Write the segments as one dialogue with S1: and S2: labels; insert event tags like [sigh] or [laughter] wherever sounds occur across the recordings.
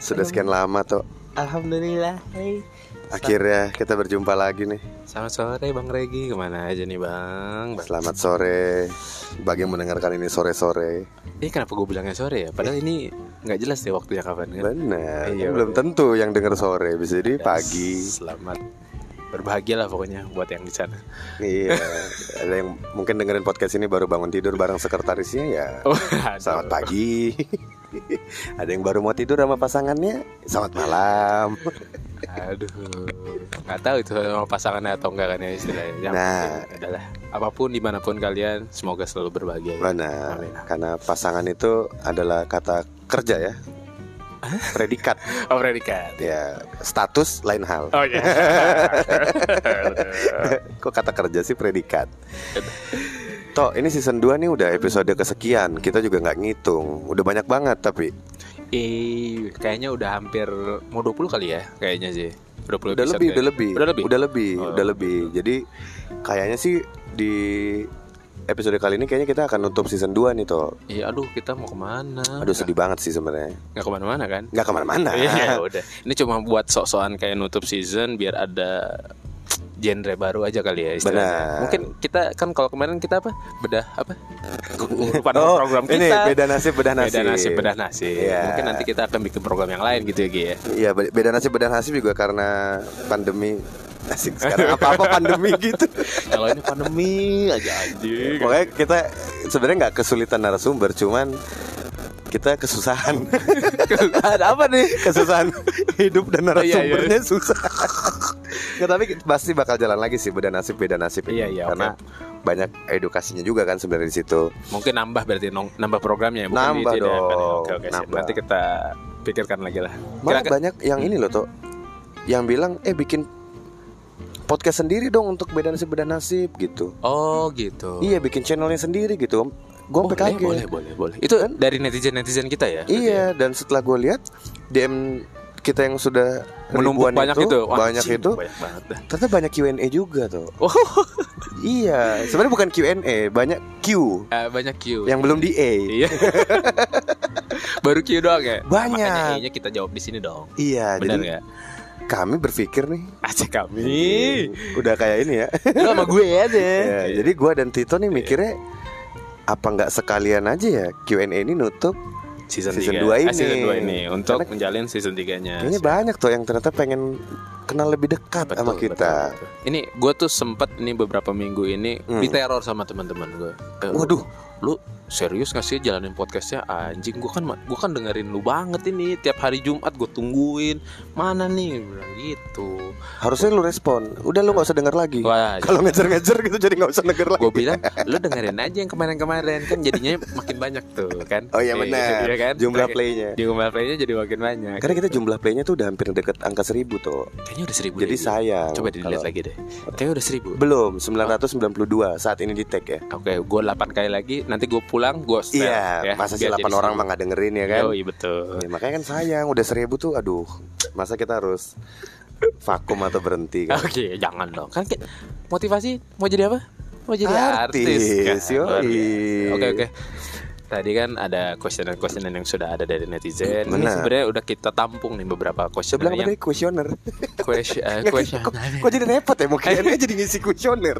S1: Sudah sekian lama toh.
S2: Alhamdulillah. Hey.
S1: Akhirnya kita berjumpa lagi nih.
S2: Selamat sore Bang Regi. Kemana aja nih Bang? Bang-
S1: Selamat sore. Bagi yang mendengarkan ini sore-sore.
S2: Ini kenapa gue bilangnya sore ya? Padahal ini nggak jelas deh waktunya kapan kan.
S1: Benar.
S2: Iya,
S1: Kan belum
S2: benar.
S1: tentu yang dengar sore bisa jadi
S2: Ya,
S1: pagi.
S2: Selamat berbahagialah pokoknya buat yang di sana.
S1: Iya.
S2: [laughs]
S1: Ada yang mungkin dengerin podcast ini baru bangun tidur bareng sekretarisnya ya.
S2: [laughs] Waduh.
S1: Selamat pagi. [laughs] Ada yang baru mau tidur sama pasangannya, selamat malam.
S2: Aduh, nggak tahu itu sama pasangannya atau enggak kan ya istilahnya. Yang
S1: Nah.
S2: penting adalah apapun dimanapun kalian, semoga selalu berbahagia.
S1: Mana?
S2: Amin.
S1: Karena pasangan itu adalah kata kerja ya. Predikat
S2: Oh predikat.
S1: ya, status lain hal.
S2: Oh ya. [laughs]
S1: [laughs] Kok kata kerja sih predikat? Toh ini season 2 nih udah episode kesekian Kita juga nggak ngitung Udah banyak banget tapi
S2: eh, kayaknya udah hampir mau 20 kali ya kayaknya sih. 20
S1: Udah
S2: episode
S1: lebih, udah
S2: kayaknya.
S1: lebih
S2: gitu. Udah lebih?
S1: Udah lebih,
S2: Oh,
S1: udah lebih. Jadi kayaknya sih di episode kali ini kayaknya kita akan nutup season 2 nih Toh
S2: Iya, aduh kita mau kemana?
S1: Aduh sedih banget sih sebenarnya
S2: nggak kemana-mana kan?
S1: Nggak kemana-mana
S2: Ah. Iya,
S1: [laughs]
S2: ya udah. Ini cuma buat sok-sokan kayak nutup season biar ada genre baru aja kali ya istilahnya.
S1: Benar.
S2: Mungkin kita kan kalau kemarin kita apa? Bedah
S1: [laughs]
S2: apa? Pada
S1: Oh,
S2: program kita.
S1: ini beda nasib, beda nasib
S2: Beda nasib, bedah nasib.
S1: Iya.
S2: Mungkin nanti kita akan bikin program yang lain gitu ya, Gi ya.
S1: Iya be- beda nasib, beda nasib juga karena pandemi Asik sekarang apa-apa pandemi
S2: [laughs]
S1: gitu
S2: Kalau ini pandemi aja anjing.
S1: Pokoknya kita sebenarnya nggak kesulitan narasumber, cuman kita
S2: [laughs]
S1: kesusahan,
S2: Ada apa nih?
S1: kesusahan hidup dan narasumbernya
S2: Iya,
S1: susah. [laughs] Nggak, tapi pasti bakal jalan lagi sih beda nasib beda nasib ini.
S2: Iya, iya,
S1: karena banyak edukasinya juga kan sebenarnya di situ.
S2: Mungkin nambah berarti nong- nambah programnya ya, bukan
S1: Nambah
S2: ditidakkan ya.
S1: dong,
S2: Oke, oke, siap.
S1: nambah.
S2: Nanti kita pikirkan lagi lah.
S1: Malah
S2: Kira-kira-
S1: banyak yang ini loh tuh, yang bilang eh bikin podcast sendiri dong untuk beda nasib beda nasib gitu.
S2: Oh, gitu.
S1: Iya bikin channelnya sendiri gitu. Gue
S2: boleh,
S1: kaget.
S2: boleh, boleh, boleh. Itu
S1: Kan?
S2: dari netizen-netizen kita ya?
S1: Iya, dan setelah gue lihat DM kita yang sudah
S2: menumpuk
S1: ribuan
S2: banyak itu, Wah,
S1: banyak
S2: anjing,
S1: itu,
S2: banyak banget dah.
S1: ternyata banyak Q&A juga tuh.
S2: Oh, [laughs]
S1: Iya, sebenarnya bukan Q&A, banyak Q
S2: eh, banyak Q.
S1: yang belum di A.
S2: Iya. [laughs] Baru Q doang ya.
S1: Banyak.
S2: Makanya kayaknya kita jawab di sini dong.
S1: Iya,
S2: Benar ya?
S1: jadi
S2: nggak?
S1: kami berpikir nih,
S2: Aceh kami.
S1: udah kayak ini ya.
S2: Lu sama gue aja. Iya.
S1: Ya, Jadi gue dan Tito nih mikirnya apa nggak sekalian aja ya Q&A ini nutup?
S2: season,
S1: Season
S2: 3.
S1: dua ini.
S2: Eh, season 2 ini untuk
S1: Karena-
S2: menjalin season 3-nya.
S1: Kayaknya banyak tuh yang ternyata pengen kenal lebih dekat sama kita.
S2: Ini gue tuh sempat ini beberapa minggu ini
S1: Hmm.
S2: diteror sama teman-teman gue. Eh,
S1: Waduh.
S2: lu serius gak sih jalanin podcastnya anjing gue kan gue kan dengerin lu banget ini tiap hari Jumat gue tungguin mana nih Gua bilang gitu
S1: Harusnya lu respon. Udah lu nggak usah denger lagi.
S2: wah
S1: [laughs] Kalau ngejar-ngejar gitu jadi nggak usah denger lagi.
S2: gue bilang lu dengerin aja yang kemarin-kemarin kan jadinya makin banyak tuh kan
S1: Oh iya
S2: Eh,
S1: benar.
S2: [laughs] iya kan?
S1: Jumlah
S2: Oke.
S1: playnya.
S2: jumlah playnya jadi makin banyak
S1: Karena kita jumlah playnya tuh udah hampir deket angka 1000 tuh.
S2: kayaknya udah seribu
S1: Jadi
S2: deh, Gi.
S1: sayang.
S2: coba dilihat
S1: kalau-
S2: lagi deh kayaknya udah seribu
S1: Belum, 992 saat ini di tag ya.
S2: Oke, gue 8 kali lagi, nanti gue pulang, gue setel
S1: Iya,
S2: ya,
S1: masa sih
S2: biar
S1: 8 orang
S2: jadi seribu.
S1: mah nggak dengerin ya kan?
S2: Yoi, betul
S1: Ya, makanya kan sayang, udah 1000 tuh aduh. Masa kita harus vakum atau berhenti
S2: [laughs]
S1: kan?
S2: Oke, jangan dong. Kan ki- motivasi mau jadi apa? Mau jadi artis. kan?
S1: Artis, Iya. yoi.
S2: Luar biasa. Oke, oke. Tadi kan ada questionan-questionan yang sudah ada dari netizen. Ini
S1: Benar.
S2: sebenarnya udah kita tampung nih beberapa
S1: Dia
S2: questionan
S1: bilang
S2: yang
S1: tadi kuesioner.
S2: question, eh,
S1: Nggak,
S2: question-
S1: kok, kok jadi repot ya
S2: [laughs]
S1: mungkin dia jadi ngisi kuesioner.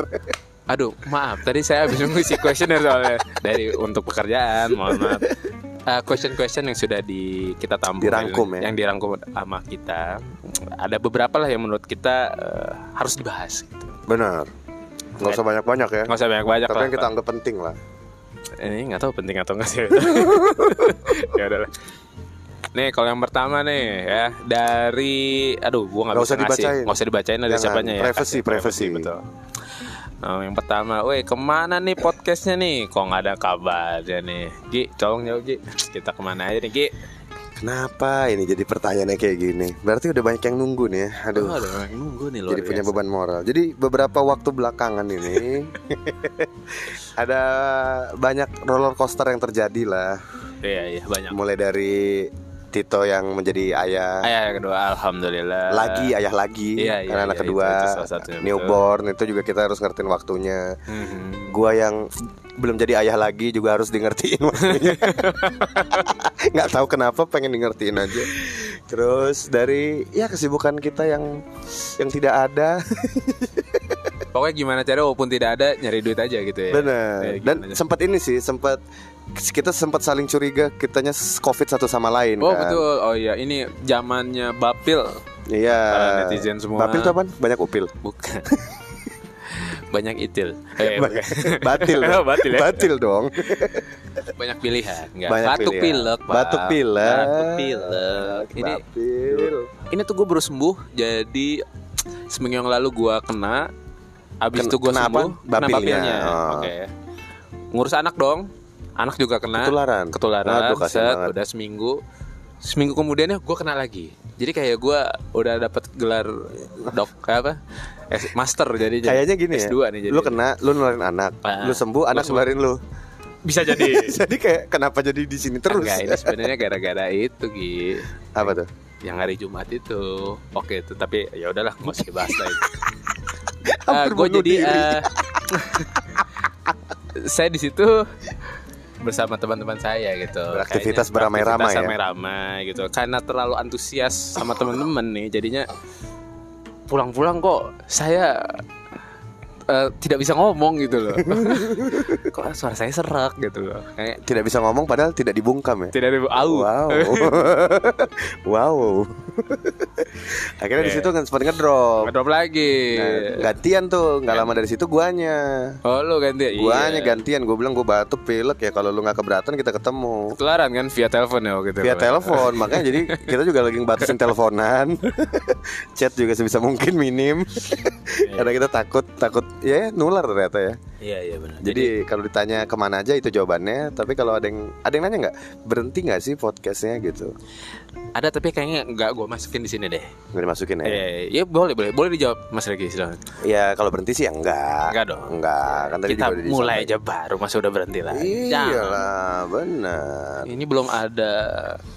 S2: Aduh, maaf. Tadi saya habis mengisi questionnaire soalnya dari untuk pekerjaan. Mohon maaf. Eh, question-question yang sudah di kita tampung
S1: Dirangkum ya.
S2: yang dirangkum sama kita ada beberapa lah yang menurut kita eh, harus dibahas gitu.
S1: Benar. Nggak usah banyak-banyak ya.
S2: nggak usah banyak banyak
S1: Tapi yang kita anggap penting lah.
S2: Eh, ini nggak tahu penting atau enggak sih [laughs] ya udahlah nih kalau yang pertama nih ya dari aduh gua nggak
S1: Nggak
S2: bisa
S1: usah
S2: ngasih.
S1: dibacain.
S2: nggak usah dibacain dari
S1: Jangan.
S2: siapanya ya
S1: Privacy, privacy.
S2: betul Nah, yang pertama, weh kemana nih podcastnya nih? Kok nggak ada kabarnya nih? Gi, tolong jawab Gi. Kita kemana aja nih Gi?
S1: Kenapa ini jadi pertanyaannya kayak gini? Berarti udah banyak yang nunggu nih ya. Aduh.
S2: Oh, ada orang yang nunggu nih luar
S1: jadi punya
S2: biasa.
S1: beban moral. Jadi beberapa waktu belakangan
S2: [laughs]
S1: ini ada banyak roller coaster yang terjadi lah.
S2: Iya iya banyak.
S1: Mulai dari Tito yang menjadi ayah,
S2: Ayah yang ya, kedua alhamdulillah.
S1: lagi ya. ayah lagi
S2: Iya, iya,
S1: karena anak
S2: iya,
S1: kedua
S2: itu- itu salah satunya, betul.
S1: newborn itu juga kita harus ngertiin waktunya
S2: Mhm.
S1: gua yang belum jadi ayah lagi juga harus di
S2: [laughs]
S1: ngertiin waktunya nggak tahu kenapa pengen di ngertiin aja terus dari ya kesibukan kita yang yang tidak ada
S2: Iya, Pokoknya gimana cara walaupun tidak ada nyari duit aja gitu ya. Kayak
S1: bener
S2: gimana
S1: dan
S2: aja.
S1: sempat ini sih sempat kita sempat saling curiga kitanya covid satu sama lain
S2: Oh
S1: kan
S2: betul. Oh iya, ini zamannya Bapil
S1: iya
S2: para netizen semua.
S1: Bapil tuh apaan? banyak upil
S2: bukan. [laughs] banyak
S1: [laughs]
S2: itil. Eh,
S1: Banyak- batil dong.
S2: [laughs] Batil ya.
S1: batil dong
S2: banyak pilihan enggak
S1: Banyak
S2: batuk
S1: pilihan.
S2: pilek Pak.
S1: batuk pilek
S2: batuk pilek ini
S1: Bapil.
S2: ini tuh gue baru sembuh jadi seminggu yang lalu gue kena abis
S1: Ken-
S2: itu gue
S1: kena apa?
S2: sembuh kena
S1: Bapilnya.
S2: bapilnya
S1: Oh.
S2: oke ngurus anak dong anak juga kena
S1: ketularan
S2: ketularan
S1: Aduh, kasihan
S2: set,
S1: banget.
S2: udah seminggu seminggu kemudiannya gue kena lagi jadi kayak gue udah dapat gelar dok kayak apa S- master jadi jadi
S1: kayaknya gini ya
S2: S2 Iya. nih jadi
S1: lu kena lu nularin anak
S2: Ah.
S1: lu sembuh anak
S2: sembuh.
S1: nularin lu [laughs]
S2: bisa [laughs] jadi
S1: jadi kayak kenapa jadi di sini terus
S2: Enggak, ini sebenarnya gara-gara itu Gi
S1: apa tuh
S2: yang hari Jumat itu oke itu tapi ya udahlah nggak usah dibahas
S1: [laughs]
S2: lagi
S1: Hampir
S2: gue
S1: bunuh
S2: jadi
S1: diri.
S2: eh, [laughs] saya di situ bersama teman-teman saya gitu
S1: Beraktivitas
S2: Kayaknya
S1: beramai-ramai
S2: beraktivitas
S1: ya?
S2: ramai-ramai gitu karena terlalu antusias sama teman-teman nih jadinya pulang-pulang kok saya eh, tidak bisa ngomong gitu
S1: [laughs]
S2: loh kok suara saya serak gitu loh kayak
S1: tidak bisa ngomong padahal tidak dibungkam ya
S2: tidak ada au
S1: wow
S2: [laughs]
S1: wow akhirnya di
S2: Iya.
S1: situ kan sempat ngedrop
S2: ngedrop iya. lagi
S1: Nah, gantian tuh nggak lama dari situ guanya
S2: Oh lu ganti
S1: guanya
S2: Iya.
S1: gantian gue bilang gue batuk pilek ya kalau lu nggak keberatan kita ketemu
S2: Ketularan kan via telepon ya gitu
S1: via telepon makanya jadi kita juga lagi batasin
S2: [laughs]
S1: teleponan chat juga sebisa mungkin minim karena kita takut takut ya nular ternyata ya
S2: Iya iya benar. Jadi
S1: jadi kalau ditanya kemana aja itu jawabannya tapi kalau ada yang ada yang nanya nggak berhenti nggak sih podcastnya gitu
S2: ada tapi kayaknya nggak gue masukin di sini deh.
S1: nggak dimasukin ya
S2: Eh, ya boleh boleh boleh dijawab Mas Regi silakan.
S1: ya kalau berhenti sih ya enggak
S2: Enggak dong.
S1: enggak kan tadi
S2: Kita
S1: juga udah disampaikan.
S2: mulai aja baru Mas udah berhenti lah. Jangan.
S1: iyalah benar
S2: Ini belum ada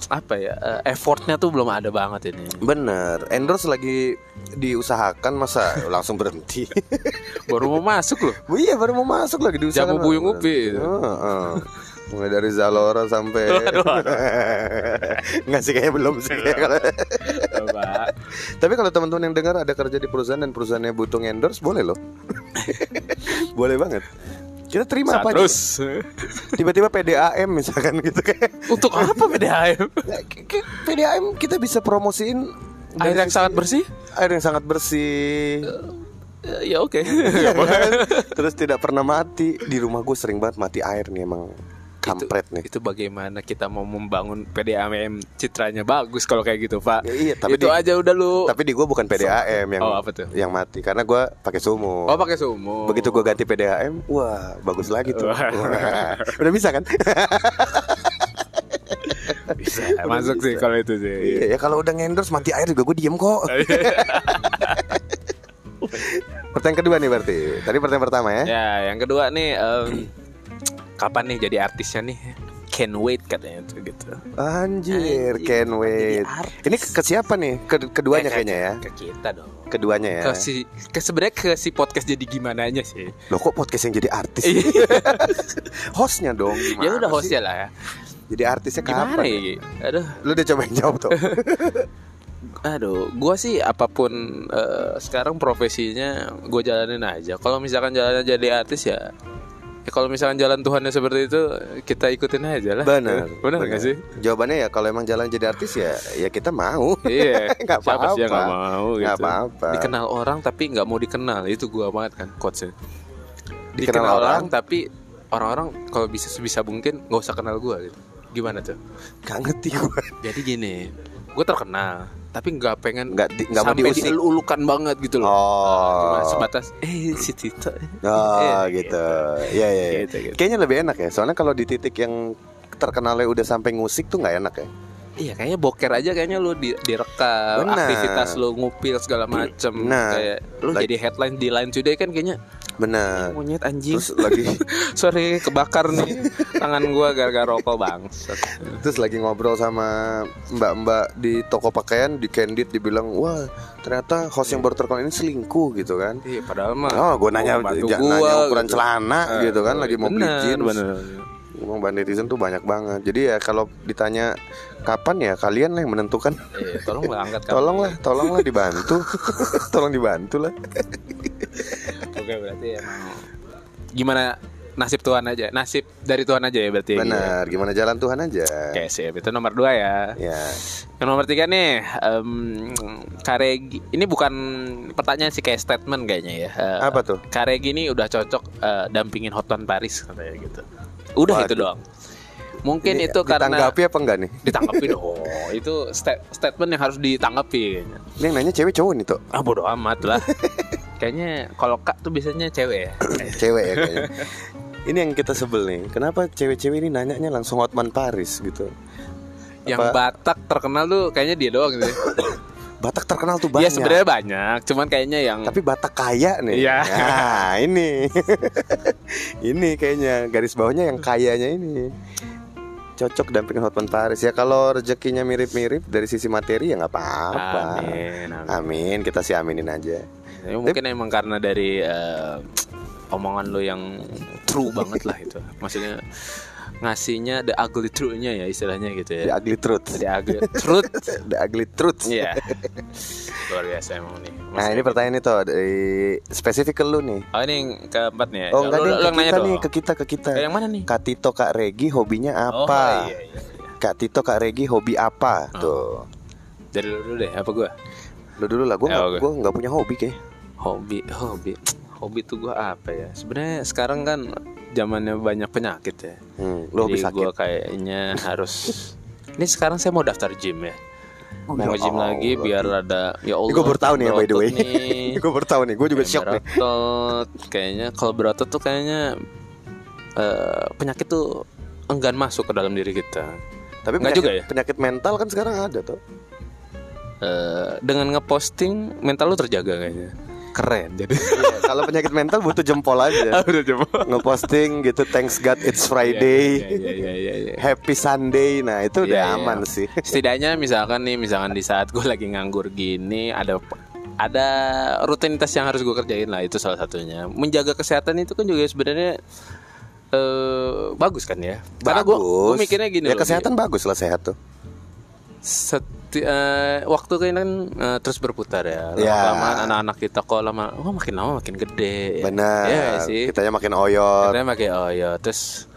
S2: apa ya eh, effortnya tuh belum ada banget ini.
S1: benar endorse lagi diusahakan masa langsung berhenti
S2: Baru mau masuk
S1: [laughs]
S2: loh.
S1: Oh iya baru mau masuk lagi di kan,
S2: Jamu buyung upi.
S1: Mulai dari Zalora sampai [laughs] Nggak sih kayaknya belum sih
S2: Iya. Coba.
S1: Tapi kalau teman-teman yang dengar ada kerja di perusahaan dan perusahaannya butuh endorse boleh
S2: [laughs]
S1: loh Boleh banget Kita terima
S2: Saat
S1: apa aja.
S2: terus.
S1: Tiba-tiba PDAM misalkan gitu kayak
S2: Untuk apa PDAM?
S1: K- k- PDAM kita bisa promosiin dari
S2: Air yang
S1: sisi-
S2: sangat bersih?
S1: Air yang sangat bersih
S2: Eh, [laughs] ya oke.
S1: Iya kan? Terus tidak pernah mati Di rumah gue sering banget mati air nih emang Kampret nih
S2: itu bagaimana kita mau membangun PDAM citranya bagus kalau kayak gitu pak
S1: Ya, iya, tapi
S2: itu
S1: di-
S2: aja udah lu
S1: Tapi di gue bukan PDAM yang
S2: Oh, apa tuh?
S1: yang mati karena gue pakai sumo.
S2: oh pakai sumo
S1: Begitu gue ganti PDAM, wah bagus lagi tuh.
S2: Wah.
S1: [laughs] Udah bisa kan?
S2: Bisa, masuk
S1: bisa.
S2: sih kalau itu sih
S1: Iya ya kalau udah endorse mati air juga gue diem
S2: [laughs]
S1: kok.
S2: Iya.
S1: pertanyaan kedua nih berarti. Tadi pertanyaan pertama ya.
S2: ya yang kedua nih em, kapan nih jadi artisnya nih can wait katanya tuh gitu
S1: Anjir, can wait.
S2: artis.
S1: Ini ke siapa nih? Ke- keduanya
S2: Eh,
S1: kayaknya ya.
S2: ke kita dong
S1: Keduanya ya.
S2: ke si ke sebenarnya ke si podcast jadi gimana nya sih
S1: Loh kok podcast yang jadi artis? [laughs] hostnya dong.
S2: Iya. ya udah
S1: Gimana sih?
S2: hostnya lah ya
S1: Jadi artisnya
S2: gimana
S1: kapan?
S2: ya Gi? aduh
S1: Lu udah cobain jawab tuh.
S2: Aduh, gua sih apapun eh, sekarang profesinya gue jalanin aja. Kalau misalkan jalannya jadi artis ya, ya kalau misalkan jalan Tuhannya seperti itu, kita ikutin aja lah.
S1: Benar.
S2: [laughs] benar nggak sih?
S1: Jawabannya ya kalau emang jalan jadi artis ya ya kita mau.
S2: Iya,
S1: [laughs] Nggak
S2: siapa sih
S1: apa-apa.
S2: yang nggak mau gitu.
S1: Nggak apa-apa.
S2: Dikenal orang tapi nggak mau dikenal, itu gua banget kan quotesnya. Dikenal,
S1: Dikenal
S2: orang,
S1: orang.
S2: tapi orang-orang kalau bisa sebisa mungkin nggak usah kenal gua gitu. Gimana tuh?
S1: Gak ngerti gue.
S2: Jadi gini, gue terkenal tapi nggak pengen
S1: Nggak di- nggak mau
S2: sampai
S1: diusik.
S2: dielulukan banget gitu loh.
S1: Oh.
S2: cuma sebatas eh si Tito
S1: Oh
S2: Eh,
S1: gitu. Iya iya. iya.
S2: Gitu, gitu.
S1: Kayaknya lebih enak ya. Soalnya kalau di titik yang terkenalnya udah sampai ngusik tuh nggak enak ya.
S2: iya kayaknya boker aja kayaknya lu di, direkam
S1: Benar.
S2: aktivitas lu ngupil segala macem
S1: Nah.
S2: kayak lu
S1: Lagi-
S2: jadi headline di Line Today kan kayaknya
S1: benar
S2: Monyet anjing.
S1: terus lagi [laughs]
S2: Sorry kebakar nih tangan gua gara-gara rokok bang.
S1: terus lagi ngobrol sama mbak-mbak di toko pakaian di Candid dibilang wah ternyata host yang baru terkenal ini selingkuh gitu kan
S2: Iya padahal mah.
S1: Oh, gue nanya,
S2: mau bantu
S1: jangan nanya ukuran celana
S2: Eh,
S1: gitu kan, lagi mau beli
S2: bener,
S1: jeans.
S2: bener.
S1: Ngomong bahan netizen tuh banyak banget. Jadi ya kalau ditanya kapan ya kalian lah yang menentukan.
S2: Eh, tolong lah angkat kamu.
S1: Tolonglah, tolonglah dibantu. [laughs] Tolong dibantu lah.
S2: Oke berarti emang gimana nasib Tuhan aja, nasib dari Tuhan aja ya
S1: Iya.
S2: berarti.
S1: Benar, gimana jalan Tuhan aja.
S2: Oke sip itu nomor dua ya.
S1: Ya,
S2: Yang nomor tiga nih, em, Karegi ini bukan pertanyaan sih kayak statement kayaknya ya. Eh,
S1: apa tuh?
S2: Karegi ini udah cocok eh, dampingin Hotman Paris katanya gitu. Udah
S1: Waduh.
S2: itu doang. Mungkin
S1: Ini
S2: itu karena
S1: ditanggapi apa enggak nih?
S2: ditanggapi dong. Itu sta- statement yang harus ditanggapi. kayaknya.
S1: Ini yang nanya cewek cowok nih tuh.
S2: Ah bodo amat
S1: [laughs]
S2: lah. kayaknya kalau kak tuh biasanya cewek ya.
S1: Cewek ya kayaknya. [laughs] Ini yang kita sebel nih. Kenapa cewek-cewek ini nanyanya langsung Hotman Paris gitu?
S2: Yang
S1: Apa-
S2: Batak terkenal tuh kayaknya dia doang gitu. ya.
S1: Batak terkenal tuh banyak.
S2: Iya sebenarnya banyak, cuman kayaknya yang
S1: tapi Batak kaya nih.
S2: Hmm. Iya.
S1: Nah,
S2: [laughs]
S1: ini. ini kayaknya garis bawahnya yang kayanya ini. Cocok dampingin Hotman Paris ya kalau rezekinya mirip-mirip dari sisi materi ya nggak
S2: Ah,
S1: apa-apa.
S2: Amin,
S1: Ah, Amin,
S2: amin.
S1: kita sih aminin aja.
S2: Ya, mungkin emang karena dari eh, omongan lo yang true banget lah itu. Maksudnya ngasihnya the ugly truth-nya ya istilahnya gitu ya.
S1: The ugly truth.
S2: The ugly
S1: [laughs]
S2: truth.
S1: The ugly truth.
S2: Iya. Luar biasa emang nih.
S1: Nah, ini pertanyaan itu dari spesifik ke lu nih.
S2: Oh ini yang keempat nih ya.
S1: Oh, enggak
S2: Lo-
S1: deh,
S2: lo-
S1: ke
S2: lo yang nanya
S1: kita
S2: dong.
S1: nih, ke kita, ke kita.
S2: Eh, yang mana nih?
S1: Kak Tito, Kak Regi hobinya
S2: Oh,
S1: apa?
S2: iya, iya, iya.
S1: Kak Tito, Kak Regi hobi apa?
S2: Oh.
S1: Tuh.
S2: Dari lu dulu deh, apa gua?
S1: Lu dulu lah, gua
S2: Ya,
S1: nggak
S2: oke.
S1: gua nggak punya hobi kayak.
S2: Hobi, hobi. Hobi tuh gua apa ya? Sebenarnya sekarang kan zamannya banyak penyakit ya.
S1: Hmm, lu hobi
S2: Jadi
S1: sakit.
S2: gua kayaknya harus ini sekarang saya mau daftar gym ya.
S1: ya
S2: Mau nge-gym
S1: Allah.
S2: lagi biar ada ya Allah.
S1: Ini gue baru tahu nih ya by the way.
S2: berotot
S1: [laughs]
S2: nih.
S1: gue baru tahu nih, gue juga
S2: Kayak
S1: shock nih.
S2: berotot. Kayaknya kalau berotot tuh kayaknya eh, penyakit tuh enggan masuk ke dalam diri kita.
S1: Tapi
S2: Nggak
S1: penyakit,
S2: juga ya?
S1: penyakit mental kan sekarang ada tuh.
S2: Eh, dengan ngeposting mental lu terjaga kayaknya. Keren jadi.
S1: Iya, Kalau penyakit mental butuh jempol aja.
S2: [laughs] Udah coba.
S1: Ngeposting gitu thanks God it's Friday.
S2: Iya, iya, iya, iya, iya.
S1: Happy Sunday. Nah, itu udah
S2: Iya, iya.
S1: aman sih. [laughs]
S2: Setidaknya misalkan nih, misalkan di saat gue lagi nganggur gini, ada ada rutinitas yang harus gue kerjain lah itu salah satunya. Menjaga kesehatan itu kan juga sebenarnya eh bagus kan ya. [laughs] Karena gue
S1: Bagus.
S2: mikirnya gini
S1: Ya
S2: loh, iya.
S1: kesehati bagus lah sehat tuh.
S2: seti- eh, waktu kan eh, terus berputar ya.
S1: Ya.
S2: Lama-lamaan anak-anak kita kok lama, oh makin lama makin gede. ya.
S1: Benar.
S2: Iya nggak sih.
S1: Kitanya makin oyot.
S2: Katanya pakai oyo Terus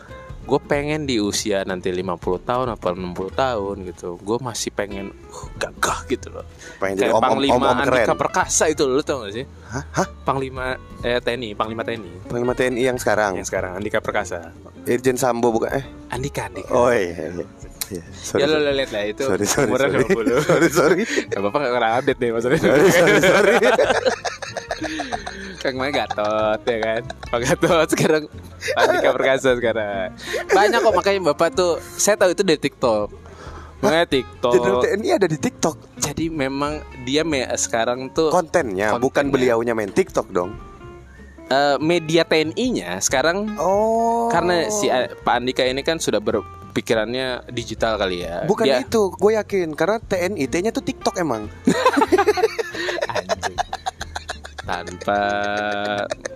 S2: gue pengen di usia nanti 50 tahun apa 60 tahun gitu Gue masih pengen uh, gagah gitu loh
S1: Pengen jadi
S2: Kayak
S1: om-om
S2: Panglima
S1: om-om
S2: Andika
S1: keren.
S2: Perkasa itu loh, lo tau gak sih?
S1: Hah? Hah?
S2: Panglima eh, TNI, Panglima TNI
S1: Panglima TNI yang sekarang.
S2: Yang sekarang Andika Perkasa
S1: Irjen Sambo bukan eh.
S2: Andika, Andika
S1: Oh iya. iya. Iya, Sorry.
S2: Ya lo lo liat lah itu
S1: Sorry, sorry,
S2: umurnya
S1: sorry.
S2: 20
S1: sorry, sorry.
S2: Gak apa-apa gak kurang update nih maksudnya
S1: Sorry, sorry, sorry.
S2: [laughs] Kayak kemarin Gatot ya kan Pak Gatot sekarang Andika Perkasa sekarang Banyak kok makanya bapak tuh Saya tahu itu dari TikTok Makanya
S1: Jenderal
S2: TikTok
S1: TNI ada di TikTok.
S2: Jadi memang dia me- sekarang tuh
S1: kontennya, bukan
S2: kontennya.
S1: beliaunya main TikTok dong.
S2: eh, media TNI-nya sekarang
S1: Oh.
S2: karena si A- Pak Andika ini kan sudah berpikirannya digital kali ya.
S1: Bukan
S2: Dia-
S1: itu, gue yakin karena TNI T-nya tuh TikTok emang.
S2: Anjing. tanpa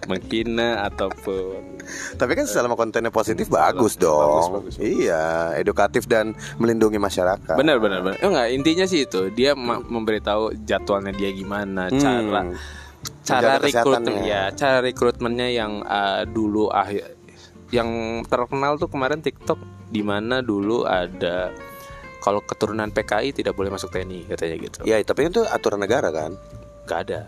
S2: menghina ataupun
S1: Tapi kan selama kontennya positif bagus dong.
S2: bagus, bagus.
S1: Iya, edukatif dan melindungi masyarakat.
S2: benar benar benar. Eh, Enggak, intinya sih itu dia ma- memberitahu jadwalnya dia gimana,
S1: Hmm.
S2: cara cara
S1: Menjaga
S2: rekrutmen
S1: kesehatannya.
S2: ya, cara rekrutmennya yang eh, dulu akhir yang terkenal tuh kemarin TikTok di mana dulu ada kalau keturunan PKI tidak boleh masuk TNI katanya gitu.
S1: Ya, tapi itu aturan negara kan.
S2: Enggak ada.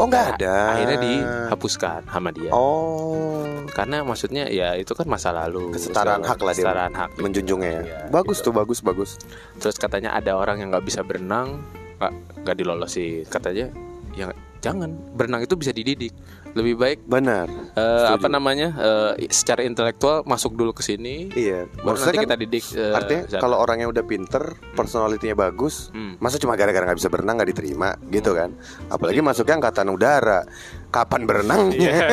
S1: Oh, nggak ada.
S2: Akhirnya dihapuskan sama dia.
S1: Oh,
S2: Karena maksudnya ya itu kan masa lalu.
S1: kesetaraan hak lah dia.
S2: Kesetaraan hak.
S1: Menjunjungnya ya.
S2: Iya,
S1: bagus
S2: gitu.
S1: tuh, bagus, bagus.
S2: Terus katanya ada orang yang nggak bisa berenang, nggak nggak dilolosin. Katanya ya jangan berenang itu bisa dididik. Lebih baik
S1: Benar.
S2: eh,
S1: Setuju.
S2: apa namanya eh, secara intelektual masuk dulu ke sini.
S1: Iya.
S2: Baru
S1: Maksudnya
S2: nanti
S1: kan
S2: kita didik. eh,
S1: artinya
S2: sana.
S1: kalau orangnya udah pinter, personalitinya bagus,
S2: Hmm.
S1: Masa cuma gara-gara nggak bisa berenang nggak diterima gitu kan? Apalagi masuknya angkatan udara. kapan berenangnya,
S2: Iya.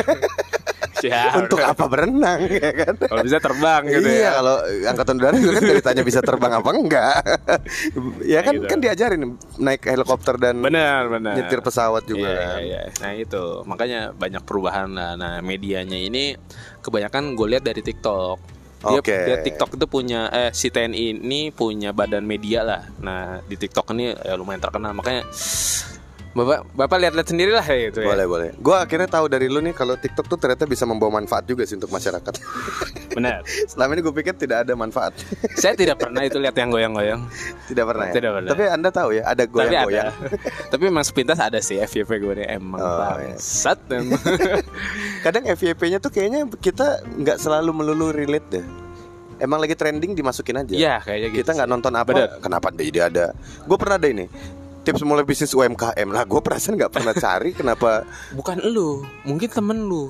S2: [laughs] Ya,
S1: [laughs] untuk
S2: udah.
S1: apa berenang ya kan?
S2: Kalau bisa terbang Iya. gitu
S1: iya
S2: ya.
S1: kalau angkatan udara juga kan ditanya bisa terbang apa
S2: [laughs]
S1: enggak ya kan
S2: gitu.
S1: kan diajarin naik helikopter dan
S2: Benar, benar.
S1: nyetir pesawat juga
S2: Iya,
S1: kan.
S2: iya, iya. Nah itu makanya banyak perubahan lah. Nah medianya ini kebanyakan gue lihat dari TikTok. Dia,
S1: Oke.
S2: dia TikTok itu punya eh si TNI ini punya badan media lah. Nah di TikTok ini ya, lumayan terkenal makanya bapak bapak lihat-lihat sendiri lah ya gitu ya.
S1: boleh boleh gue akhirnya tahu dari lu nih kalau TikTok tuh ternyata bisa membawa manfaat juga sih untuk masyarakat [laughs]
S2: Benar.
S1: selama ini gue pikir tidak ada manfaat [laughs]
S2: Saya tidak pernah itu lihat yang goyang-goyang.
S1: tidak pernah ya?
S2: Tidak pernah.
S1: tapi anda tahu ya ada
S2: Tapi ada.
S1: goyang-goyang
S2: Tapi memang sepintas ada sih FYP gue nih emang
S1: Oh, iya.
S2: bangsat
S1: [laughs]
S2: emang.
S1: kadang FYP-nya tuh kayaknya kita nggak selalu melulu relate deh emang lagi trending dimasukin aja
S2: Iya kayaknya gitu.
S1: kita nggak nonton apa
S2: Bener.
S1: kenapa jadi ada gue pernah ada ini tips mulai bisnis UMKM lah gue perasaan nggak pernah cari kenapa
S2: Bukan lu, mungkin temen lu.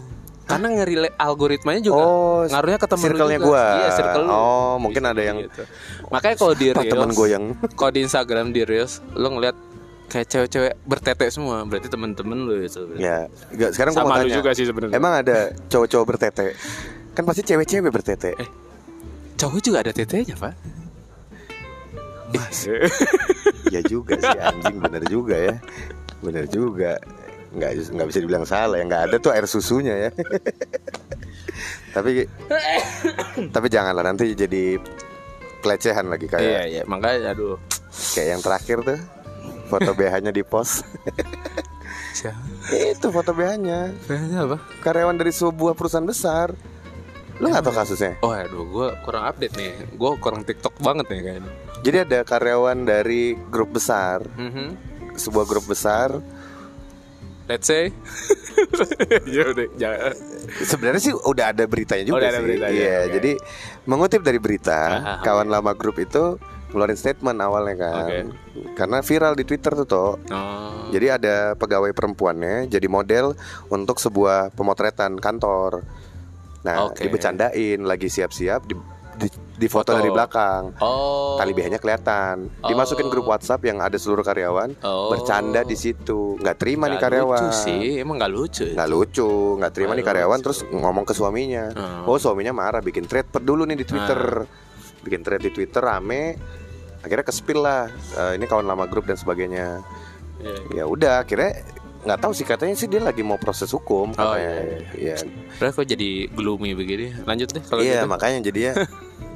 S2: Karena ngerile algoritmanya juga
S1: Oh,
S2: ngaruhnya ke temen lu
S1: circle-nya
S2: juga.
S1: gua.
S2: Iya, circle lu.
S1: Oh, mungkin
S2: Bisa
S1: ada
S2: jadi
S1: yang-
S2: gitu. Makanya kalau di
S1: Apa
S2: Reels,
S1: temen goyang? [laughs]
S2: Kalau di Instagram di Reels, lu ngeliat kayak cewek-cewek bertete semua, berarti temen-temen lu gitu. itu. berarti.
S1: ya nggak sekarang gue mau
S2: Sama lu
S1: tanya
S2: juga sih sebenarnya.
S1: emang ada cowok-cowok bertete kan pasti cewek-cewek bertete
S2: Eh, Cowok juga ada tetenya, Pak. Mas.
S1: Iya juga sih anjing bener juga ya bener juga nggak nggak bisa dibilang salah yang nggak ada tuh air susunya ya [laughs] tapi tapi janganlah nanti jadi pelecehan lagi [laughs] kayak
S2: iya, iya, makanya aduh.
S1: kayak yang terakhir tuh foto BH-nya di pos [laughs]
S2: Siapa?
S1: itu foto BH-nya
S2: apa?
S1: karyawan dari sebuah perusahaan besar lu nggak tahu kasusnya
S2: Oh, aduh, gue kurang update nih. Gue kurang TikTok banget nih kayaknya.
S1: jadi ada karyawan dari grup besar
S2: Mhm.
S1: sebuah grup besar
S2: Let's say. [laughs] ya udah, jangan.
S1: sebenarnya sih udah ada beritanya juga
S2: Oh, udah ada
S1: sih
S2: beritanya,
S1: iya
S2: oke.
S1: jadi mengutip dari berita
S2: Ah, ah,
S1: kawan lama grup itu ngeluarin statement awalnya kan
S2: Oke.
S1: karena viral di Twitter tuh toh
S2: Oh.
S1: Jadi ada pegawai perempuannya jadi model untuk sebuah pemotretan kantor. Nah,
S2: Oke.
S1: dibecandain lagi siap-siap di, di- difoto
S2: Foto.
S1: dari belakang.
S2: Oh.
S1: Tali BH-nya kelihatan. Dimasukin
S2: Oh.
S1: grup WhatsApp yang ada seluruh karyawan.
S2: Oh.
S1: Bercanda di situ. nggak terima nih
S2: Nggak
S1: karyawan. Nah.
S2: Lucu sih, emang nggak lucu.
S1: Nggak lucu, nggak terima
S2: Nggak
S1: nih karyawan
S2: lucu.
S1: terus ngomong ke suaminya.
S2: Hmm.
S1: Oh, suaminya marah bikin thread per dulu nih di
S2: Ah.
S1: Twitter. Bikin thread di Twitter rame. Akhirnya kespil lah. Eh, ini kawan lama grup dan sebagainya.
S2: Iya.
S1: ya udah akhirnya nggak tahu sih katanya sih dia lagi mau proses hukum
S2: Oh,
S1: katanya. ya
S2: Padahal kok jadi gloomy begini. Lanjut deh kalau
S1: iya
S2: gitu. Iya,
S1: makanya
S2: [laughs]
S1: jadinya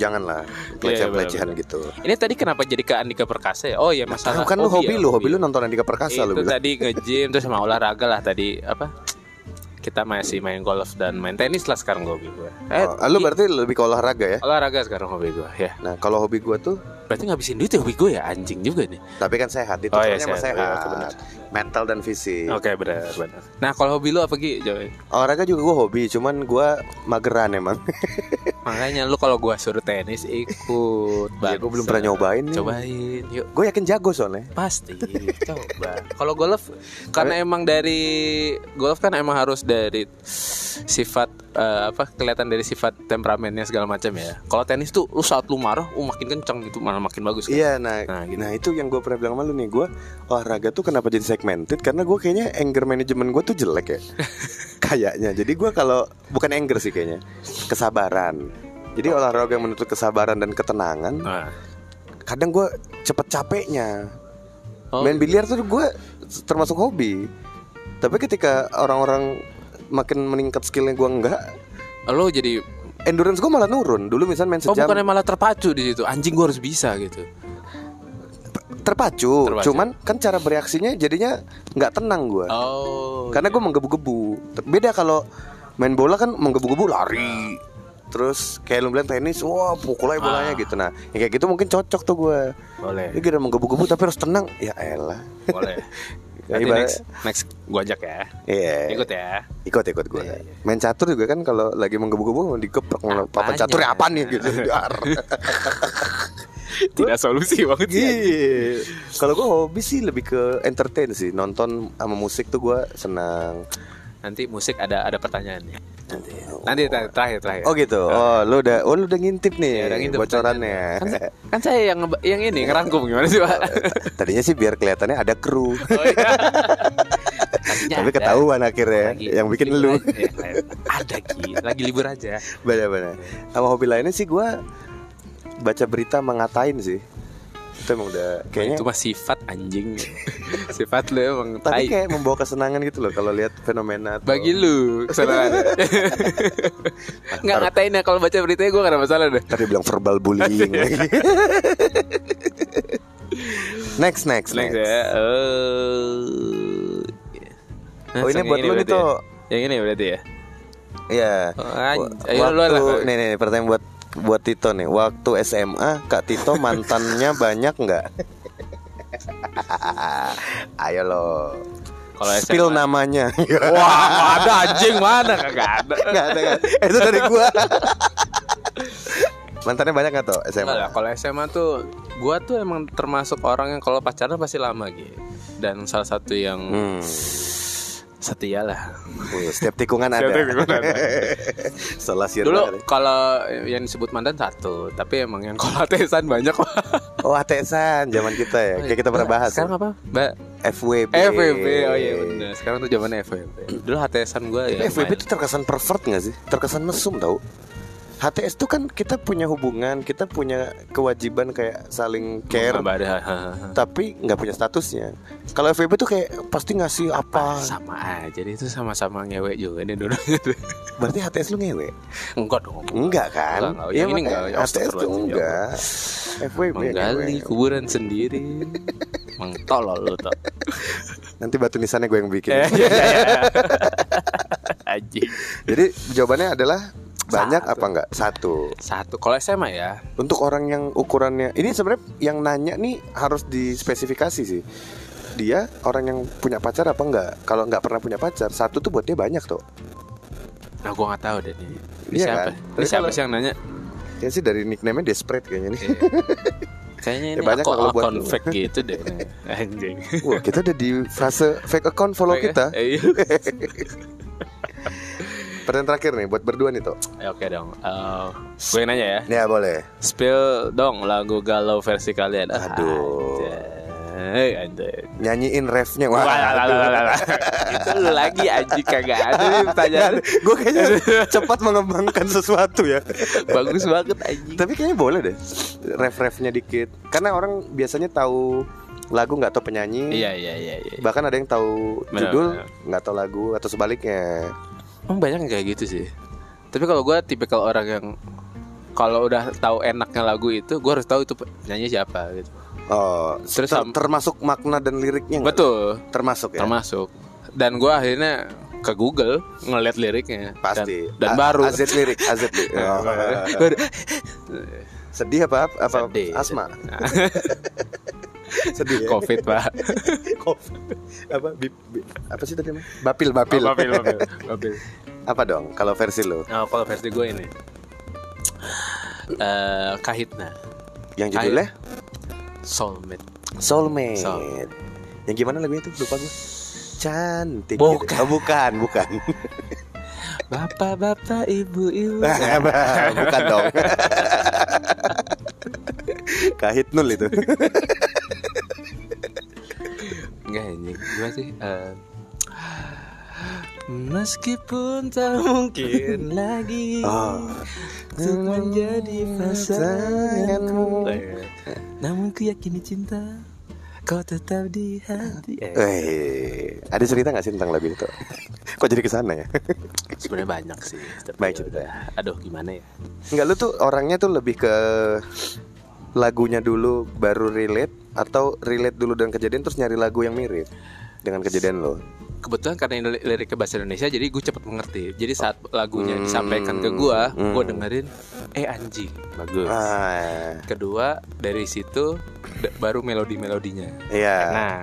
S1: janganlah pelecehan pelecehan gitu
S2: Ini tadi kenapa jadi ke Andika Perkasa ya? Oh ya
S1: tahu
S2: masalah.
S1: kan lu hobi
S2: ya,
S1: lu hobi lu nonton Andika Perkasa lu
S2: Itu
S1: bilang
S2: tadi nge-gym terus sama olahraga lah tadi apa? Kita masih main golf dan main tenis lah sekarang hobi gue. Eh,
S1: Oh, lu
S2: i-
S1: berarti lebih ke olahraga ya
S2: olahraga sekarang hobi gue ya.
S1: nah kalau hobi gua tuh
S2: Berarti ngabisin duit ya hobi gue ya anjing juga nih.
S1: tapi kan sehat itu
S2: Oh, iya,
S1: namanya mah sehat,
S2: sehat. Oh, iya, oke, benar.
S1: mental dan fisik
S2: Oke benar benar. Nah kalau hobi lu apa Gi? Jo?
S1: olahraga juga gua hobi cuman gua mageran emang [laughs]
S2: Makanya lu kalau gua suruh tenis ikut.
S1: ya gua belum pernah
S2: bangsa.
S1: nyobain nih
S2: Cobain yuk.
S1: gua yakin jago soalnya [laughs]
S2: Pasti coba. Kalau golf karena emang dari golf kan emang harus dari sifat eh, apa kelihatan dari sifat temperamennya segala macam ya. Kalau tenis tuh lu saat lu marah, uh makin kencang gitu malah makin bagus. kan?
S1: Iya, nah, nah,
S2: Nah, gitu.
S1: itu yang gue pernah bilang sama lu nih, gue olahraga tuh kenapa jadi segmented? Karena gue kayaknya anger management gue tuh
S2: [laughs]
S1: jelek ya, kayaknya. Jadi gue kalau bukan anger sih kayaknya, kesabaran. Jadi
S2: Oh.
S1: olahraga yang menuntut kesabaran dan ketenangan,
S2: Nah.
S1: kadang gue cepet capeknya.
S2: Oh,
S1: Main biliar tuh gue termasuk hobi. Tapi ketika orang-orang makin meningkat skillnya gue enggak,
S2: lu jadi
S1: endurance gue malah nurun. Dulu misalnya main
S2: Oh
S1: sejam,
S2: bukannya malah terpacu di situ. Anjing gua harus bisa gitu.
S1: terpacu.
S2: Terpacu.
S1: Cuman kan cara bereaksinya jadinya nggak tenang gue.
S2: Oh.
S1: Karena gue menggebu-gebu. Beda kalau main bola kan menggebu-gebu lari. Terus kayak lu bilang tenis, wah pukul aja bolanya
S2: Ah.
S1: gitu. Nah, yang kayak gitu mungkin cocok tuh gue.
S2: boleh.
S1: Ini kira menggebu-gebu tapi harus tenang. Ya elah. [laughs]
S2: Boleh.
S1: Ya,
S2: Nanti
S1: ibarat-
S2: next, next gua ajak ya.
S1: Iya.
S2: Ikut ya.
S1: Ikut ikut gue.
S2: Iya,
S1: Main catur juga kan kalau lagi menggebu-gebu digeprek malah papan
S2: Apanya?
S1: catur ya apaan nih
S2: [laughs]
S1: gitu. Dar.
S2: Tidak solusi banget sih.
S1: Iya. Kalau gue hobi sih lebih ke entertain sih. Nonton sama musik tuh gue senang.
S2: Nanti musik ada ada pertanyaannya. Nanti nanti ter- terakhir terakhir.
S1: Oh gitu. Oh, lu udah oh lu udah ngintip
S2: Ya,
S1: nih
S2: udah ngintip
S1: bocorannya.
S2: Kan, sa- kan saya yang ngeba- yang ini ngerangkum gimana sih, Pak?
S1: Tadinya sih biar kelihatannya ada kru.
S2: Oh iya. Kasih
S1: [laughs]
S2: Ya,
S1: Tapi
S2: ada.
S1: ketahuan akhirnya
S2: Lagi
S1: yang bikin lu.
S2: libur
S1: [laughs]
S2: aja. Ya, ada Ki, lagi libur aja.
S1: Benar-benar. Sama hobi lainnya sih gua baca berita mengatain sih. Itu emang udah
S2: Kayaknya
S1: kayaknya
S2: itu mah sifat
S1: [laughs]
S2: anjing. sifat lu emang
S1: tapi
S2: tai.
S1: kayak membawa kesenangan gitu loh kalau lihat fenomena atau-
S2: Bagi lu
S1: [laughs]
S2: kesalahan. Enggak ngatain ya kalau baca beritanya gue gak ada masalah deh.
S1: Tadi bilang verbal
S2: [laughs]
S1: bullying lagi. next, next, next.
S2: Next ya. Eh,
S1: Oh, ini
S2: langsung
S1: buat lu nih,
S2: berarti ya?
S1: Tok.
S2: Yang ini berarti ya.
S1: Iya.
S2: Oh, anj-
S1: Wa-
S2: ayo lu
S1: waktu,
S2: lah.
S1: nih, nih, nih, pertanyaan buat buat Tito nih. Waktu SMA Kak Tito
S2: [laughs]
S1: mantannya banyak nggak? Ayo lo.
S2: Kalau
S1: Spill
S2: SMA.
S1: namanya.
S2: Wah, nggak ada anjing mana kagak ada.
S1: [laughs] Nggak ada kan? Itu dari
S2: [laughs]
S1: gua. mantannya banyak nggak tuh
S2: Enggak lah,
S1: SMA?
S2: kalau SMA tuh gua tuh emang termasuk orang yang kalau pacaran pasti lama gitu. Dan salah satu yang
S1: Hmm.
S2: setia lah.
S1: Wih, setiap tikungan ada. ya,
S2: Setiap tikungan
S1: [laughs]
S2: ada.
S1: Salah sih.
S2: Dulu kalau yang disebut mantan satu, tapi emang yang kalau atesan banyak Pak.
S1: Oh, atesan zaman kita ya. Kayak kita pernah bahas.
S2: Sekarang apa? Mbak
S1: FWB.
S2: FVB. Oh iya benar. Sekarang tuh zaman FVB. Dulu HTSan gua ya.
S1: Tapi FWB
S2: main.
S1: itu terkesan pervert gak sih? Terkesan mesum tau HTS itu kan kita punya hubungan, kita punya kewajiban kayak saling care,
S2: Nggak ada. ha, ha, ha.
S1: tapi nggak punya statusnya. Kalau FWB tuh kayak pasti ngasih apa?
S2: Ah, sama aja deh itu sama-sama ngewek juga nih dulu [laughs]
S1: Berarti HTS lu ngewe?
S2: enggak dong
S1: Enggak kan?
S2: Enggak, enggak. Yang ini
S1: makanya HTS tuh
S2: enggak. Astagfirullahaladzim, ya
S1: enggak. FWB yang
S2: menggali
S1: ngewe.
S2: kuburan
S1: [laughs]
S2: sendiri mengtolol lu tuh
S1: Nanti batu nisannya gue yang bikin.
S2: Eh, iya, iya. [laughs] Anjing.
S1: Jadi jawabannya adalah banyak
S2: Satu.
S1: apa enggak? Satu.
S2: satu kalau SMA ya
S1: Untuk orang yang ukurannya ini sebenarnya yang nanya nih harus dispesifikasi sih. Dia orang yang punya pacar apa enggak? Kalau enggak pernah punya pacar, satu tuh buat dia banyak tuh.
S2: nah gue nggak tahu deh ini, ini
S1: Iya
S2: siapa
S1: kan?
S2: ini
S1: Tapi
S2: siapa
S1: kalau-
S2: sih yang nanya
S1: Ya sih dari nickname-nya Desperate [laughs] kayaknya nih.
S2: Iya. kayaknya
S1: Ya,
S2: ini
S1: banyak
S2: akun-
S1: lah kalau buat
S2: akun
S1: lu.
S2: fake gitu
S1: [laughs]
S2: deh anjing
S1: Wah, kita udah di fase fake account follow kita.
S2: [laughs] Eh, iya.
S1: Pertanyaan terakhir nih buat berdua nih tuh.
S2: Eh, oke dong Eh, gue yang nanya ya
S1: Ya boleh.
S2: spill dong lagu galau versi kalian Ah,
S1: Aduh.
S2: anjay, anjay.
S1: Nyanyiin refnya.
S2: Wah,
S1: Wah.
S2: lah, lah, lah, lah, lah. itu lu lagi anjing kagak ada nih pertanyaan
S1: Gue [laughs] kayaknya cepat mengembangkan sesuatu ya.
S2: bagus banget anjing
S1: Tapi kayaknya boleh deh Ref-refnya dikit Karena orang biasanya tahu lagu nggak tahu penyanyi
S2: iya iya iya, iya.
S1: Bahkan ada yang tahu
S2: Benar,
S1: judul
S2: benar.
S1: nggak tahu lagu atau sebaliknya
S2: Emang banyak yang kayak gitu sih. Tapi kalau gue tipikal orang yang kalau udah tahu enaknya lagu itu, gue harus tahu itu penyanyi siapa gitu.
S1: Oh,
S2: Terus
S1: ter-
S2: sam-
S1: termasuk makna dan liriknya nggak?
S2: Betul,
S1: Termasuk ya?
S2: termasuk. Dan gue akhirnya ke Google ngeliat liriknya. Dan-
S1: Pasti A-
S2: Dan, baru.
S1: AZ lirik AZ lirik. Oh.
S2: [laughs] Baru.
S1: Sedih apa? apa
S2: Sedih.
S1: Asma?
S2: Nah,
S1: [laughs] Sedih ya?
S2: [laughs] Covid pak.
S1: Covid. apa, bi- bi- apa sih tadi? Mas? Bapil, bapil Apa dong kalau versi lo?
S2: Nah, kalau versi gue ini. Eh, Kahitna
S1: Yang judulnya?
S2: Soulmate
S1: Soulmate.
S2: Soul.
S1: Yang gimana lagunya tuh? Lupa gue. Cantik.
S2: Bukan.
S1: gitu. Oh, bukan, bukan.
S2: Bapak-bapak,
S1: [laughs]
S2: ibu-ibu
S1: Eh. bukan dong. [laughs] Kahit nul [laughs] itu.
S2: Enggak ini gimana sih? Eh, Meskipun tak mungkin lagi
S1: Oh.
S2: Untuk menjadi pasanganmu Namun ku yakini cinta Kau tetap di hati eh,
S1: Eh, ada cerita gak sih tentang lagu itu? [laughs] Kok jadi kesana [laughs] ya?
S2: Sebenarnya banyak sih tapi
S1: Baik,
S2: ya
S1: cerita.
S2: udah. Aduh gimana ya
S1: Enggak, lu tuh orangnya tuh lebih ke lagunya dulu baru relate atau relate dulu dengan kejadian terus nyari lagu yang mirip dengan kejadian lo.
S2: Kebetulan karena ini liriknya bahasa Indonesia Jadi gue cepet mengerti Jadi saat lagunya
S1: Hmm.
S2: disampaikan ke gue
S1: Hmm.
S2: Gue dengerin Eh anjing Bagus
S1: Ah,
S2: Kedua dari situ da- Baru melodi-melodinya
S1: iya.
S2: Nah,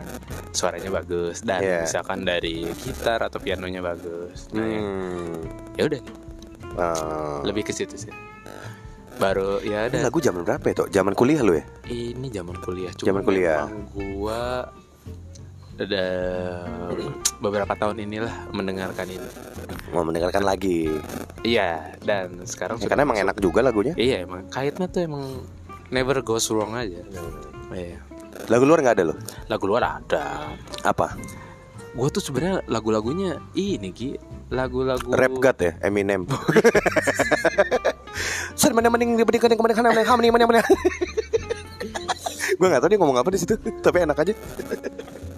S2: suaranya bagus dan
S1: Iya.
S2: misalkan dari gitar atau pianonya bagus. Nah, yang-
S1: Hmm.
S2: ya udah
S1: Ah.
S2: lebih ke situ sih. Baru ya
S1: Ini
S2: ada
S1: lagu zaman berapa ya, Tok? Zaman kuliah lu ya?
S2: ini zaman kuliah
S1: Zaman kuliah.
S2: memang gua ada beberapa tahun inilah mendengarkan ini.
S1: Mau mendengarkan lagi.
S2: Iya, dan sekarang
S1: Ya, karena emang
S2: masuk-
S1: enak juga lagunya.
S2: Iya, emang kaitnya tuh emang never goes wrong aja. Iya.
S1: Lagu luar nggak ada loh.
S2: Lagu luar ada.
S1: Apa?
S2: gue tuh sebenarnya lagu-lagunya ini Gi lagu-lagu
S1: Rap God ya Eminem [laughs] Sen mana mending diberikan yang kemarin mana mana mana mana [laughs] Gue gak tau dia ngomong apa di situ Tapi enak aja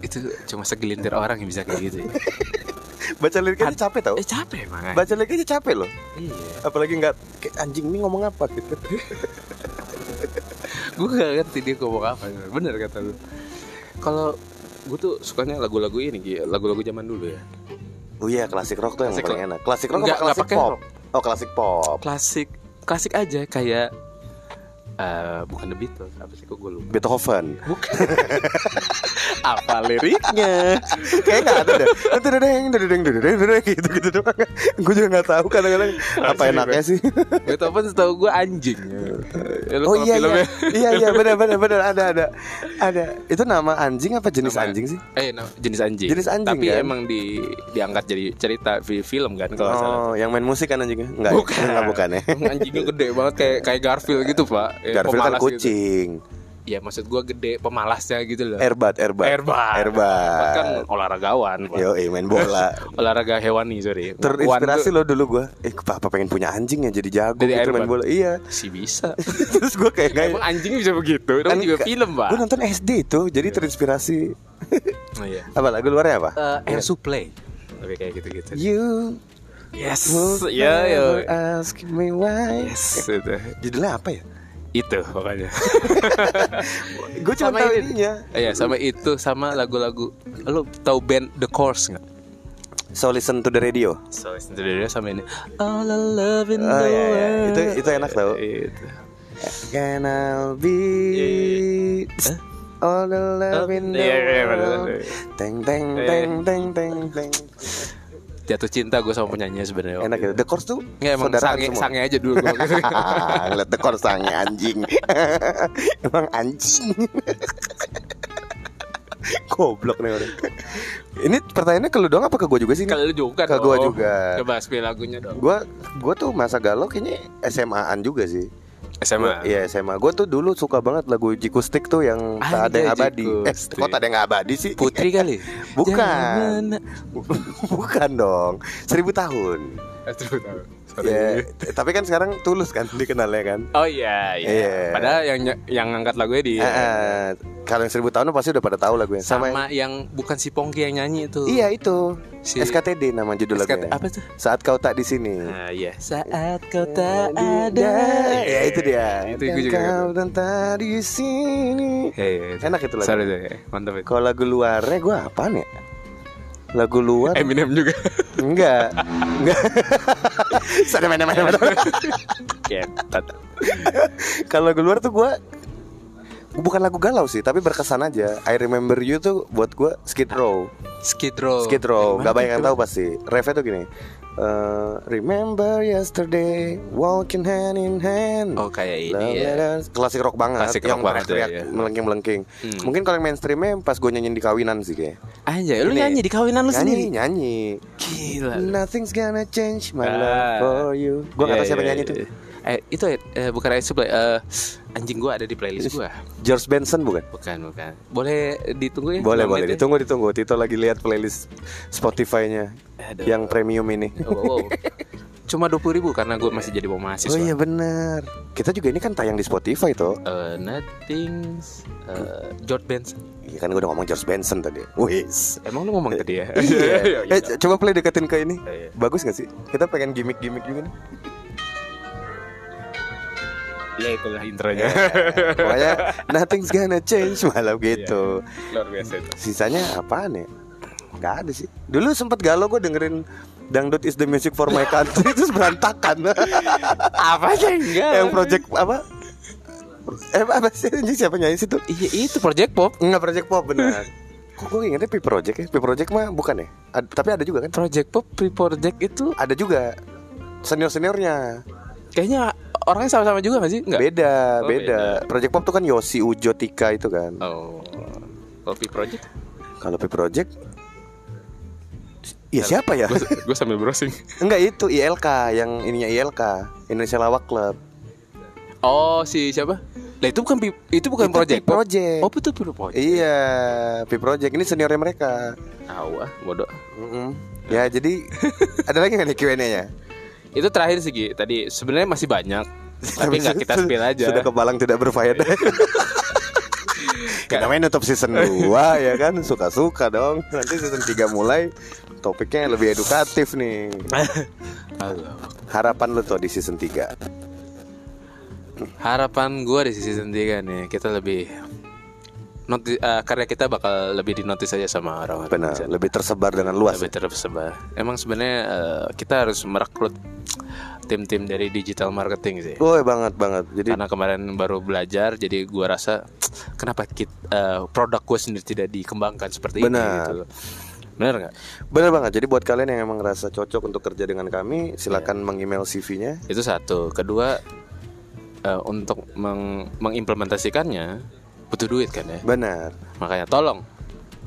S2: itu cuma segelintir orang yang bisa kayak gitu ya.
S1: Baca liriknya capek tau
S2: eh capek emang
S1: Baca liriknya capek loh
S2: iya
S1: Apalagi gak kayak, Anjing ini ngomong apa gitu
S2: gue gak ngerti dia ngomong apa bener kata lu kalau gue tuh sukanya lagu-lagu ini Gi lagu-lagu zaman dulu ya
S1: Oh iya klasik rock tuh yang
S2: Klasik
S1: paling enak Klasik rock apa
S2: Nggak- nggak
S1: klasik
S2: pakai
S1: pop?
S2: rock.
S1: Oh klasik pop
S2: klasik klasik aja kayak eh bukan The Beatles apa sih kok gue lupa
S1: Beethoven
S2: bukan [laughs] apa liriknya
S1: Kayaknya gak ada deh Dedeng dedeng dedeng dedeng gitu gitu doang Gue juga gak tahu kadang-kadang Apa
S2: Asli,
S1: enaknya sih
S2: Beethoven setahu gue anjing Ya, lu
S1: Oh
S2: kalau
S1: iya iya
S2: filmnya-
S1: iya iya benar benar benar ada ada ada itu nama anjing apa jenis
S2: Nama-
S1: anjing sih?
S2: eh no, jenis anjing
S1: Jenis anjing,
S2: tapi
S1: kan?
S2: emang di diangkat jadi cerita di film kan kalau nggak salah
S1: Oh yang main musik kan anjingnya? Enggak ya?
S2: Bukan.
S1: enggak bukan ya.
S2: anjingnya gede banget kayak kayak Garfield gitu pak Ya,
S1: Garfield kan
S2: pemalas gitu.
S1: kucing, Eh,
S2: ya maksud gue gede pemalasnya gitu loh
S1: airbat airbat
S2: Airbat.
S1: airbat.
S2: kan olahragawan pak.
S1: Yo eh, main
S2: [laughs]
S1: bola.
S2: olahraga hewani sorry
S1: Terinspirasi lo
S2: Wan
S1: dulu gua. Eh papa pengen punya anjing ya jadi jago
S2: Jadi
S1: gitu main
S2: airbat.
S1: bola. Iya. [laughs]
S2: tuh sih bisa
S1: Terus gua kayak kayak
S2: Emang anjing bisa begitu? Itu
S1: Eh. Kan
S2: juga
S1: ka-
S2: film, Pak. Iya.
S1: Gua nonton SD itu jadi terinspirasi
S2: Oh iya.
S1: apa lagu luarnya apa?
S2: air supply. Oke
S1: Iya.
S2: kayak gitu-gitu.
S1: You
S2: Yes.
S1: will
S2: Ya,
S1: never
S2: ya.
S1: ask me why. Eh,
S2: Yes, itu.
S1: Judulnya apa ya?
S2: Itu
S1: [laughs]
S2: pokoknya.
S1: Gue cuma
S2: Iya. Sama
S1: tahu
S2: ini.
S1: ininya.
S2: Iya, sama itu sama lagu-lagu. Lo tahu band The Course nggak?
S1: So listen to the radio.
S2: So listen to the radio sama ini. All the love in
S1: Oh,
S2: the
S1: iya, iya.
S2: world.
S1: Itu- itu enak tau.
S2: Itu.
S1: Can I
S2: Iya,
S1: be all the love in the
S2: Iya, iya, bener,
S1: world?
S2: bener.
S1: Teng teng
S2: Iya.
S1: teng teng teng teng.
S2: Jatuh cinta gue sama penyanyinya sebenarnya.
S1: Enak gitu. The Course tuh
S2: Nggak, emang
S1: saudaraan
S2: sange,
S1: semua.
S2: sange aja dulu.
S1: [laughs] Ah, Ngeliat The Course sange anjing. [laughs] Emang anjing. [laughs] Goblok nih orang. Ini pertanyaannya ke lu doang apa ke gue juga sih?
S2: Kalau lu juga
S1: Ke
S2: dong.
S1: gua juga.
S2: Coba spill lagunya dong.
S1: Gue gua tuh masa galau kayaknya SMA-an juga sih. Gua- Iya SMA. Gue tuh dulu suka banget lagu Jikustik tuh yang tak ada
S2: Anjay,
S1: yang abadi. Eh,
S2: Jikustik.
S1: kok tak ada yang abadi sih? Eh,
S2: Putri kali?
S1: Bukan.
S2: Jangan-
S1: [laughs] Bukan dong. Seribu tahun.
S2: Eh, terus, terus. Sorry.
S1: Ya, t- tapi kan sekarang tulus kan dikenalnya kan.
S2: Oh iya, iya.
S1: Iya.
S2: Padahal yang yang ngangkat lagunya dia.
S1: Eh, eh, kalau yang seribu tahun pasti udah pada tahu lagunya.
S2: sama,
S1: Sama. yang-
S2: yang bukan si Pongki yang nyanyi itu.
S1: Iya itu.
S2: Si-
S1: SKTD nama judul lagunya.
S2: SKT apa tuh?
S1: Saat kau tak di sini.
S2: Nah, iya. Saat kau tak ada.
S1: Ada. Ya itu dia.
S2: Itu gue
S1: Dan
S2: juga.
S1: Kau dan tak di sini.
S2: Iya, iya, iya.
S1: Enak itu lagu.
S2: Sorry, sorry. Mantap itu.
S1: Kalau lagu luarnya gue apaan ya? Lagu luar
S2: Eminem juga.
S1: Enggak. Enggak. [laughs] Sana mana mana mana.
S2: Ketat.
S1: Kalau lagu luar tuh gua bukan lagu galau sih, tapi berkesan aja. I remember you tuh buat gua Skid Row.
S2: Skid Row.
S1: Skid Row,
S2: Yang
S1: enggak
S2: mana
S1: banyak yang
S2: tuh?
S1: tahu pasti. Refnya tuh gini. Eh, remember yesterday walking hand in hand.
S2: Oh, kayak ini
S1: Love
S2: ya.
S1: letters. Klasik rock banget
S2: Klasik
S1: yang
S2: rock banget tuh,
S1: teriak
S2: iya.
S1: melengking melengking.
S2: Hmm.
S1: Mungkin kalau yang mainstreamnya pas gue nyanyiin di kawinan sih kayak.
S2: Anjay, lu
S1: Ini.
S2: nyanyi di kawinan lu
S1: nyanyi
S2: sendiri.
S1: nyanyi.
S2: Gila.
S1: Nothing's gonna change my
S2: Ah.
S1: love for you. Gue nggak tahu siapa nyanyi itu.
S2: itu. Eh, itu eh, bukan Air Supply. Eh, anjing gua ada di playlist gua.
S1: George Benson bukan?
S2: Bukan, bukan. Boleh ditunggu ya?
S1: Boleh
S2: Lima
S1: boleh
S2: menit ya?
S1: ditunggu ditunggu. Tito lagi lihat playlist Spotify-nya
S2: Aduh.
S1: yang premium ini.
S2: Wow, wow. Cuma dua ribu karena gue masih jadi
S1: Oh
S2: mahasiswa.
S1: iya benar. Kita juga ini kan tayang di Spotify toh.
S2: Eh, nothing's eh, George Benson.
S1: Iya kan gue udah ngomong George Benson tadi. Wis.
S2: Emang lu ngomong tadi ya?
S1: [laughs] Eh,
S2: [laughs]
S1: Iya. eh, c- coba play deketin ke ini.
S2: Iya.
S1: Bagus gak sih? Kita pengen gimmick-gimmick juga [laughs] nih.
S2: Iya itulah intronya.
S1: Pokoknya nothing's gonna change malam gitu.
S2: [laughs] Luar biasa itu.
S1: Sisanya apaan ya? Gak ada sih. Dulu sempet galau gue dengerin Dangdut is the music for my country [laughs] Terus berantakan
S2: Apa aja enggak?
S1: Yang project apa? Eh apa sih anjing siapa nyanyi situ?
S2: Iya itu Project Pop.
S1: Enggak project pop
S2: [laughs]
S1: benar. Kok gue ingetnya P Project ya? P Project mah bukan ya? Ad- tapi ada juga kan?
S2: Project Pop, Pre-Project itu
S1: Ada juga senior-seniornya.
S2: kayaknya orangnya sama-sama juga gak sih? Enggak.
S1: Beda,
S2: Oh,
S1: beda. Project pop tuh kan Yosi Ujo Tika itu kan.
S2: Oh. Kalau Pre-Project
S1: Kalau P Project Iya siapa ya?
S2: gue sambil browsing.
S1: [laughs] Enggak itu ILK yang ininya ILK Indonesia Lawak Club.
S2: Oh, si siapa? Nah, itu bukan pi- itu
S1: Itu
S2: bukan project.
S1: Pi Project.
S2: Oh, betul betul project.
S1: Iya, Pi Project ini seniornya mereka.
S2: Tahu ah, bodoh.
S1: Mm-mm. Ya
S2: [laughs]
S1: jadi ada lagi nggak nih Q&A-nya?
S2: Itu terakhir segi tadi sebenarnya masih
S1: [laughs]
S2: banyak. tapi nggak kita spill aja. Iya,
S1: Sudah kebalang tidak berfaedah. [laughs] Kita main nutup season 2 ya kan Suka-suka dong Nanti season 3 mulai Topiknya lebih edukatif nih Harapan lu tuh di season 3
S2: Harapan gue di season 3 nih kita lebih noti- eh, karya kita bakal lebih dinotis aja sama orang-orang.
S1: Benar
S2: Oh, Bisa.
S1: Lebih tersebar dengan luas
S2: Lebih tersebar. Emang sebenarnya eh, kita harus merekrut tim-tim dari digital marketing sih.
S1: Woi banget banget Jadi
S2: Karena kemarin baru belajar, jadi gua rasa kenapa kit, eh, produk gue sendiri tidak dikembangkan seperti ini
S1: Benar.
S2: gitu loh. Benar nggak?
S1: benar banget Jadi buat kalian yang emang ngerasa cocok untuk kerja dengan kami
S2: Iya.
S1: Silahkan meng-email CV-nya
S2: Itu satu. Kedua, eh, untuk meng- mengimplementasikannya butuh duit kan ya.
S1: Benar
S2: Makanya tolong,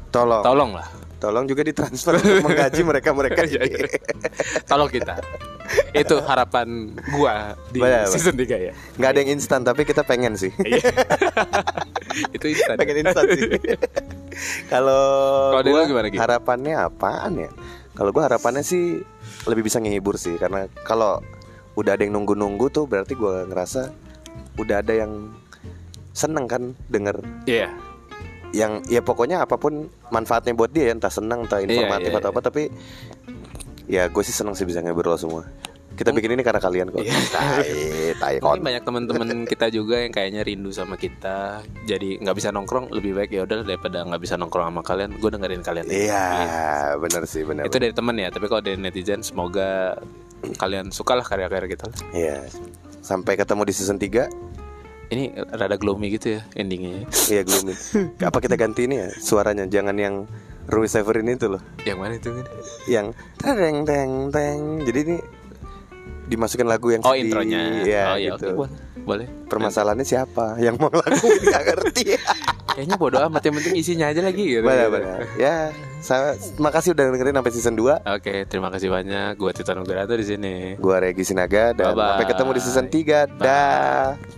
S1: Tolong
S2: tolong lah,
S1: Tolong juga ditransfer untuk menggaji
S2: [laughs]
S1: mereka-mereka
S2: Iya,
S1: ini.
S2: tolong kita. Itu harapan gua di
S1: Benar, benar.
S2: season 3 ya.
S1: Nggak ada yang instan tapi kita pengen sih
S2: Iya. Itu instan.
S1: pengen instan sih. Kalau
S2: Kalau dari
S1: gua
S2: lu gimana, Gi?
S1: harapannya apaan ya? Kalau gua harapannya sih lebih bisa ngehibur sih karena kalau udah ada yang nunggu-nunggu tuh berarti gua ngerasa udah ada yang seneng kan denger
S2: Iya.
S1: yang ya pokoknya apapun manfaatnya buat dia ya, entah seneng entah informatif
S2: iya,
S1: atau apa tapi ya gue sih seneng sih bisa ngobrol semua kita
S2: Hmm.
S1: bikin ini karena kalian kok
S2: Iya.
S1: tai tai kon
S2: Mungkin banyak teman-teman kita juga yang kayaknya rindu sama kita. Jadi nggak bisa nongkrong, lebih baik ya udah daripada nggak bisa nongkrong sama kalian, gue dengerin kalian.
S1: iya bener sih bener
S2: Itu dari teman ya, tapi kalau dari netizen semoga kalian sukalah karya-karya kita. lah.
S1: Iya. Sampai ketemu di season 3
S2: Ini rada gloomy gitu ya endingnya.
S1: Iya gloomy Apa kita ganti ini ya suaranya Jangan yang Rui Severin itu loh
S2: Yang mana itu? Min?
S1: Yang tereng teng teng Jadi ini Dimasukin lagu yang
S2: Oh
S1: sedih.
S2: intronya.
S1: Iya
S2: oh iya
S1: gitu
S2: oke, boleh. Boleh.
S1: Permasalahannya siapa Yang mau [laughs] lakuin gak ngerti
S2: Kayaknya bodo amat yang penting isinya aja lagi gitu.
S1: Benar-benar Ya saya, Makasih udah dengerin sampai season 2
S2: Oke, terima kasih banyak. Gue Tito Nugraha di sini.
S1: Gua Regi Sinaga Dan
S2: Bye-bye.
S1: sampai ketemu di season 3 Dah